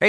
Hey,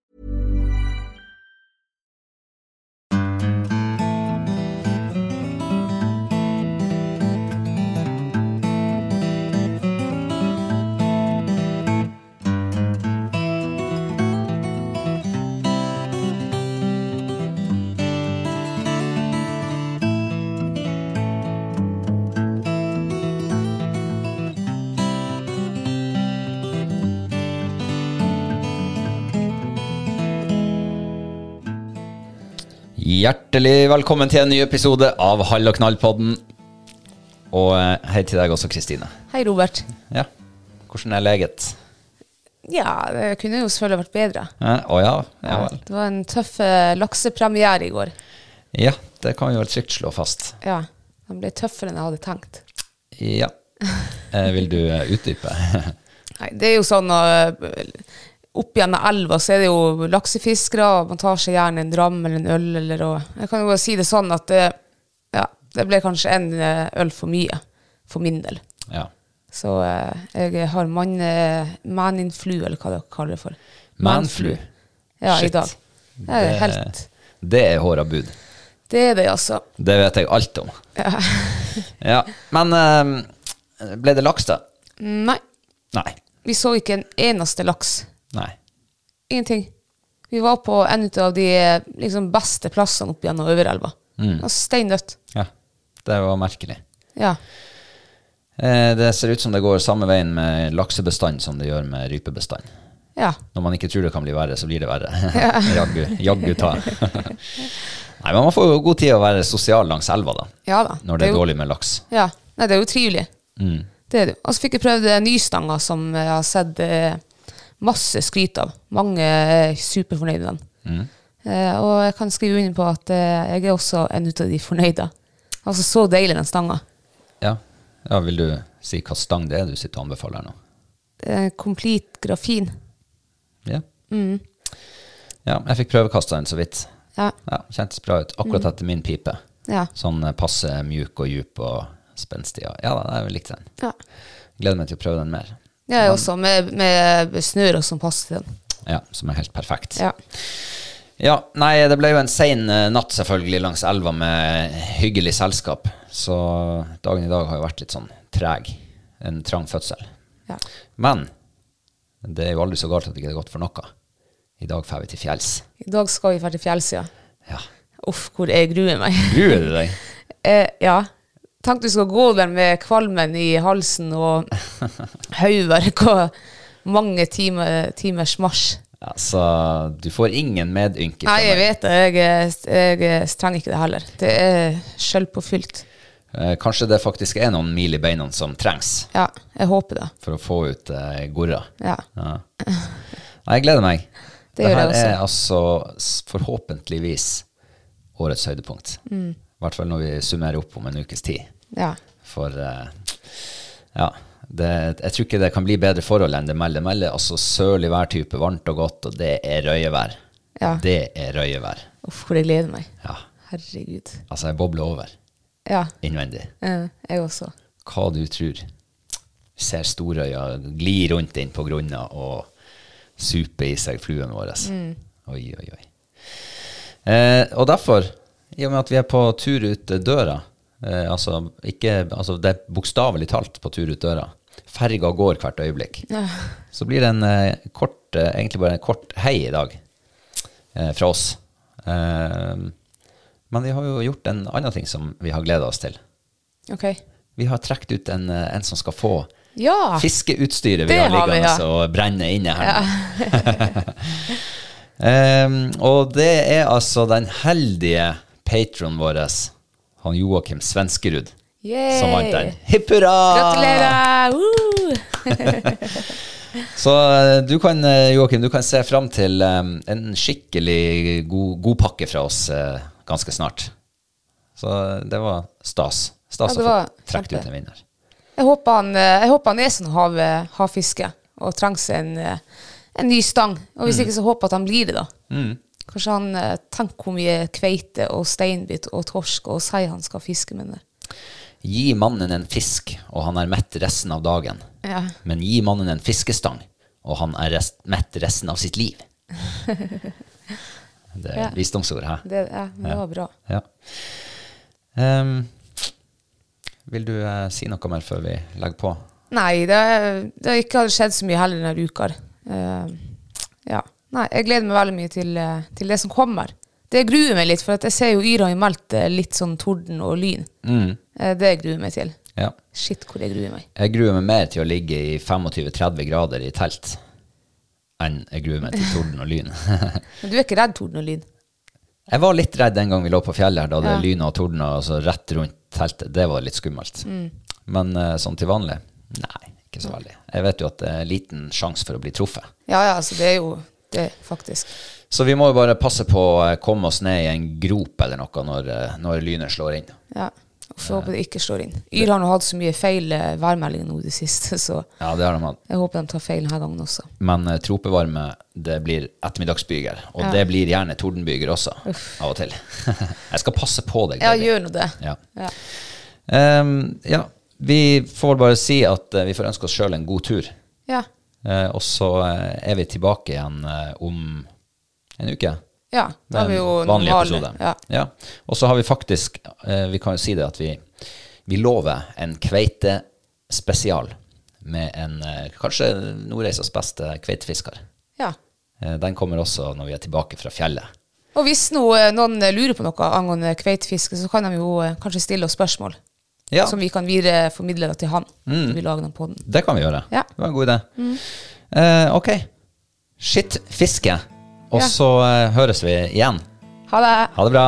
Hjertelig velkommen til en ny episode av Hall og knall-podden. Og eh, hei til deg også, Kristine. Hei, Robert. Ja. Hvordan er leget? Ja, det kunne jo selvfølgelig vært bedre. Å eh, å ja. Ja vel. Det var en tøff eh, laksepremiere i går. Ja, det kan vi vel trygt slå fast. Ja, den ble tøffere enn jeg hadde tenkt. Ja. Eh, vil du eh, utdype? Nei, det er jo sånn eh, Opp gjennom elva så er det jo laksefiskere, og man tar seg gjerne en dram eller en øl eller og Jeg kan jo bare si det sånn at det, ja, det ble kanskje en eh, øl for mye, for min del. ja. Så eh, jeg har man, eh, man in flu, eller hva det kaller det for. Manflu. Ja, Shit. i dag. Det er helt Det er håra bud. Det er det, altså. Det vet jeg alt om. Ja. Men eh, ble det laks, da? Nei, Nei. vi så ikke en eneste laks. Nei. Ingenting. Vi var på en av de eh, liksom, beste plassene opp gjennom Øverelva. Mm. Steindødt. Ja. Det var merkelig. Ja. Eh, det ser ut som det går samme veien med laksebestand som det gjør med rypebestand. ja. Når man ikke tror det kan bli verre, så blir det verre. Jaggu jaggu ta. Nei, men man får jo god tid å være sosial langs elva, da. Ja da. Når det er jo- dårlig med laks. Mm, Ja. Nei, det er jo trivelig. Det er det. Og så fikk jeg prøvd eh, nystanga, som jeg har sett eh, masse skryt av. Mange er superfornøyde med den. mm. Eh, og jeg kan skrive under på at eh, jeg er også en ut av de fornøyde. Altså, så deilig den stanga. Ja. ja, vil du si hva stang det er du sitter og anbefaler nå? Eh, complete grafin. Ja. ja jeg fikk prøvekasta den så vidt. Ja. Ja, Kjentes bra ut. Akkurat etter min pipe. Ja. Sånn eh, passe mjuk og djup og spenstig. og- Ja da, jeg likte den. ja. Gleder meg til å prøve den mer. Jeg er også med, med sånn snøret som passer til den. Ja, Som er helt perfekt. Ja. Ja, nei, det ble jo en sein eh, natt selvfølgelig langs elva med hyggelig selskap. Så dagen i dag har jo vært litt sånn treg. En trang fødsel. Ja. Men det er jo aldri så galt at det ikke er godt for noe. I dag drar vi til fjells. I dag skal vi dra til fjellsida. Ja. Uff, hvor jeg gruer meg. Gruer du deg? Eh, ja. Tenk du skal gå der med kvalmen i halsen og hodeverk og mange time, timers marsj. Altså, du får ingen medynke fra Nei, jeg meg. vet det. Jeg, er- jeg er- trenger ikke det heller. Det er sjølpåfylt. Eh, Kanskje det faktisk er noen mil i beina som trengs Ja, jeg håper det. for å få ut eh, gorra. Ja. Ja. Nei, jeg gleder meg. Det gjør her jeg er altså s- forhåpentligvis årets høydepunkt. Mm. I hvert fall når vi summerer opp om en ukes tid. ja. For eh, ja, Det, jeg tror ikke det kan bli bedre forhold enn det melder melder. Altså sørlig værtype, varmt og godt, og det er røyevær. Ja. Det er røyevær. Uff, hvor jeg gleder meg. Ja. Herregud. Altså, jeg bobler over Ja, innvendig. eh, jeg også. Hva du tror. Ser storøya gli rundt inn på grunna og supe i seg fluen vår. Oi, oi, oi. Eh, og derfor, i og med at vi er på tur ut døra, eh, altså, ikke, altså det er bokstavelig talt på tur ut døra, ferga går hvert øyeblikk, så blir det en eh, kort, eh, egentlig bare en kort hei i dag eh, fra oss. Eh, men vi har jo gjort en annen ting som vi har gleda oss til. Ok. Vi har trukket ut en, eh, en som skal få Ja! fiskeutstyret vi Ah. Det har har vi, liggende og brenne inne her. Em, og det er altså den heldige patronen vår, han Joakim Svenskerud, Yay. som vant den. Hipp hurra! Gratulerer! Woo! Så eh, du kan, eh, Joakim, du kan se fram til em, en skikkelig god, god pakke fra oss eh, ganske snart. Så eh, det var stas. Stas Ja, det å var få trukket kjempe. ut en vinner. Jeg håper han, eh, jeg håper han er sånn hav, havfiske og trenger seg en, eh, en ny stang. Og Mm. hvis ikke, så håper jeg at han blir det, da. Kanskje han eh, tenker hvor mye kveite og steinbit og torsk og sei han skal fiske med. det. Gi mannen en fisk, og han er mett resten av dagen. Ja. Men gi mannen en fiskestang, og han er rest, mett resten av sitt liv. Det er Ja. et visdomsord her. Det, ja, men det var bra. Ja. Ehm, vil du eh, si noe mer før vi legger på? Nei, det, det har ikke skjedd så mye heller denne uka. Eh, ja. Nei, jeg gleder meg veldig mye til, eh, til det som kommer. Det gruer meg litt, for at jeg ser jo Yra har jo meldt eh, litt sånn torden og lyn. Eh, det gruer jeg meg til. Mm. Ja. Shit, hvor jeg gruer meg. Jeg gruer meg mer til å ligge i 25-30 grader i telt enn jeg gruer meg til torden og lyn. Men du er ikke redd torden og lyn? Jeg var litt redd den gang vi lå på fjellet her, da det lyna og tordna altså rett rundt teltet. Det var litt skummelt. Mm. Men eh, sånn til vanlig? Nei, ikke så veldig. Jeg vet jo at det er liten sjanse for å bli truffet. Ja, ja, altså det er jo det, faktisk. Så vi må jo bare passe på å eh, komme oss ned i en grop eller noe når, eh, når lynet slår inn. Ja. Uff, jeg håper det ikke slår inn. Yr har nå hatt så mye feil eh, værmeldinger nå i det siste, så Ja, det har de hatt. jeg håper de tar feil denne gangen også. Men eh, tropevarme, det blir ettermiddagsbyger. Og det blir gjerne tordenbyger også, av og til. Jeg skal passe på deg. Ja, Debbie. gjør nå det. Ja. Ja. Ehm, ja. Vi får bare si at eh, vi får ønske oss sjøl en god tur. Ja. Eh, og så eh, er vi tilbake igjen eh, om en uke. ja. Da har vi en jo vanlig normale- episode. Ja. Og så har vi faktisk eh, Vi kan jo si det at vi, vi lover en kveitespesial med en eh, kanskje Nordreisas beste kveitefisker. ja. Eh, den kommer også når vi er tilbake fra fjellet. Og hvis nå, eh, noen eh, lurer på noe angående kveitefiske, så kan de jo eh, kanskje stille oss spørsmål. Ja. Som vi kan videreformidle da til han. Mm. når Vi lager den podden. Det kan vi gjøre. Ja. Mm. Det var en god idé. Eh, ok. Shit fiske. Og Ja. så eh, høres vi igjen. Ha det! Ha det bra.